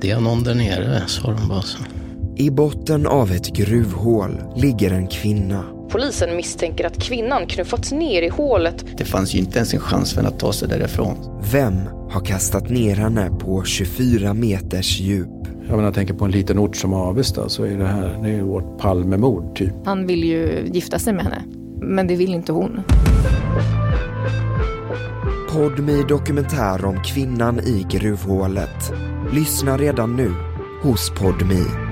Det är någon där nere, sa de bara så. I botten av ett gruvhål ligger en kvinna. Polisen misstänker att kvinnan knuffats ner i hålet. Det fanns ju inte ens en chans för henne att ta sig därifrån. Vem har kastat ner henne på 24 meters djup? Jag menar, jag tänker på en liten ort som Avesta så är det här, det är ju vårt Palmemord typ. Han vill ju gifta sig med henne, men det vill inte hon. Podmi dokumentär om kvinnan i gruvhålet. Lyssna redan nu hos Podmi.